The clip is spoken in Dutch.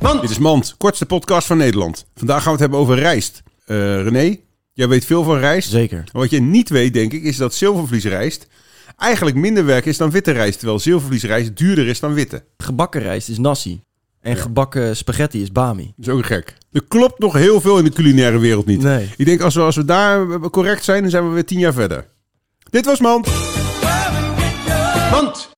Mand. Dit is Mand, kortste podcast van Nederland. Vandaag gaan we het hebben over rijst. Eh, René, jij weet veel van rijst. Zeker. En Wat je niet weet, denk ik, is dat zilvervliesrijst eigenlijk minder werk is dan witte rijst. Terwijl zilvervliesrijst duurder is dan witte. Gebakken rijst is nasi. En gebakken spaghetti is bami. Dat is ook gek. Er klopt nog heel veel in de culinaire wereld niet. Nee. Ik denk, als we, als we daar correct zijn, dan zijn we weer tien jaar verder. Dit was Mand. Mand.